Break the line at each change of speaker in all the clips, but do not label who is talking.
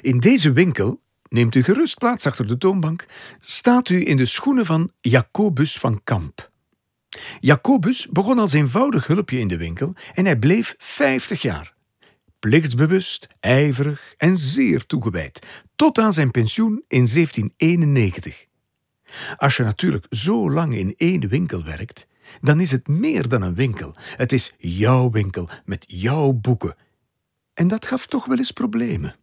In deze winkel, neemt u gerust plaats achter de toonbank, staat u in de schoenen van Jacobus van Kamp. Jacobus begon als eenvoudig hulpje in de winkel en hij bleef 50 jaar. Plichtsbewust, ijverig en zeer toegewijd, tot aan zijn pensioen in 1791. Als je natuurlijk zo lang in één winkel werkt, dan is het meer dan een winkel. Het is jouw winkel met jouw boeken. En dat gaf toch wel eens problemen.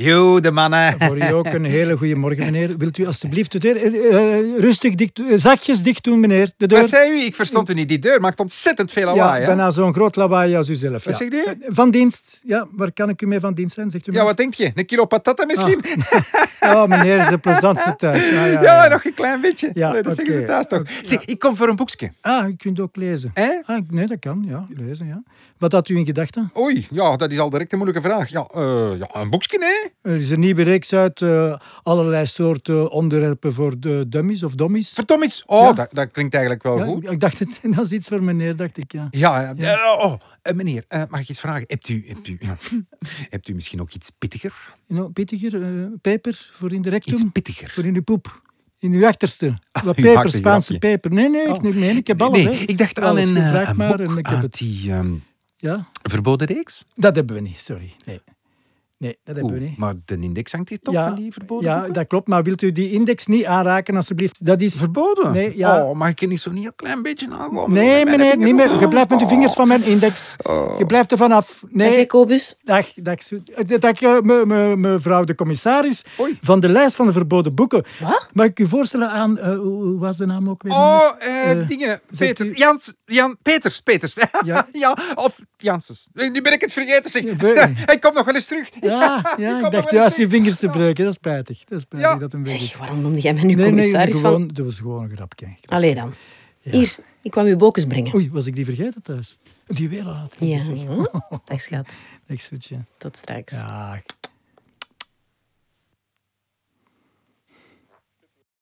Joe, de mannen.
Voor u ook een hele goede morgen, meneer. Wilt u alstublieft de deur eh, eh, rustig dicht, eh, zachtjes dicht doen, meneer? De deur.
Wat zei u? Ik verstond u niet. Die deur maakt ontzettend veel lawaai.
ja,
hè?
bijna zo'n groot lawaai als u zelf.
Wat
ja.
zegt u?
Eh, Van dienst. Ja, waar kan ik u mee van dienst zijn? Zegt u
Ja, wat denk je? Een kilo patata misschien?
maar. Oh, meneer is een plezantste thuis. Ah, Ja, ja,
ja,
ja.
nog een klein beetje.
Ja,
Nee, dat zeggen ze
oké.
thuis toch. Zeg, ik kom voor een boekje.
Ah, u kunt ook lezen.
Hè?
Ah, ik- nee, dat kan. Ja, lezen, ja. Wat had u in gedachten?
Oei, ja, dat is al direct een moeilijke vraag. Ja, eh, ja een boekje, hè?
Er is een nieuwe reeks uit. eh, allerlei soorten onderwerpen voor de dummies of dommies.
Verdomme iets. Oh,
Ja.
dat, dat klinkt eigenlijk wel
Ja,
goed.
ik, ik dacht, het, dat is iets voor meneer, dacht ik. Ja.
Ja, ja. Eh, oh, eh, meneer, eh, mag ik iets vragen? Hebt u, hebt, u, ja, hebt u misschien ook iets pittiger?
Nou, pittiger, eh, peper voor in de rectum.
Iets pittiger?
Voor in uw poep. In uw achterste. Wat
Ah, uw
peper,
achtergrapje.
Spaanse peper. Nee, nee, ik,
Oh.
nee, nee, ik heb alles.
nee,
hè.
ik dacht aan
Alles
een,
gevraagd
eh, een
maar
boek
en ik heb
uit
het.
die ehm,
Ja,
verboden reeks.
dat hebben we niet, sorry. Nee, nee dat hebben
Oeh,
we niet.
maar de index hangt hier toch van die verboden
ja,
boeken?
dat klopt. Maar wilt u die index niet aanraken, alsjeblieft? Dat is...
Verboden?
Nee, ja.
Oh, mag ik er niet zo'n heel klein beetje aankomen?
Nee, meneer, niet meer. Je blijft met
Oh,
de vingers van mijn index. Je blijft er vanaf.
Dag
Nee,
Jacobus.
Dag, dag, Sue. Eh, dag eh, me- me- mevrouw de commissaris
Oei.
van de lijst van de verboden boeken.
Wat?
Mag ik u voorstellen aan, eh, hoe hoe was de naam ook weer?
Oh, eh,
Eh,
dingen.
zegt
Peter.
u-
Jans, Jan, Peters, Peters. Ja.
Ja.
of Janssens. Nu ben ik het vergeten. Zeg.
Ja, ben-
Hij komt nog wel eens terug.
Ja, ja,
kom
ik
nog
dacht
wel eens
juist je
terug.
vingers te breuken. Dat is spijtig. Dat is spijtig
Ja.
dat hem weg is.
Zeg, waarom noemde jij mij nu
dus- Nee, nee,
commissaris
gewoon,
van... Ah.
dat was gewoon een grapje.
Allee dan. Hier, ik kwam u bokens brengen.
Oei, was ik die vergeten thuis? Die weer al had.
Ja.
gezegd.
Dag schat.
Ik zoetje.
Tot straks.
Ja,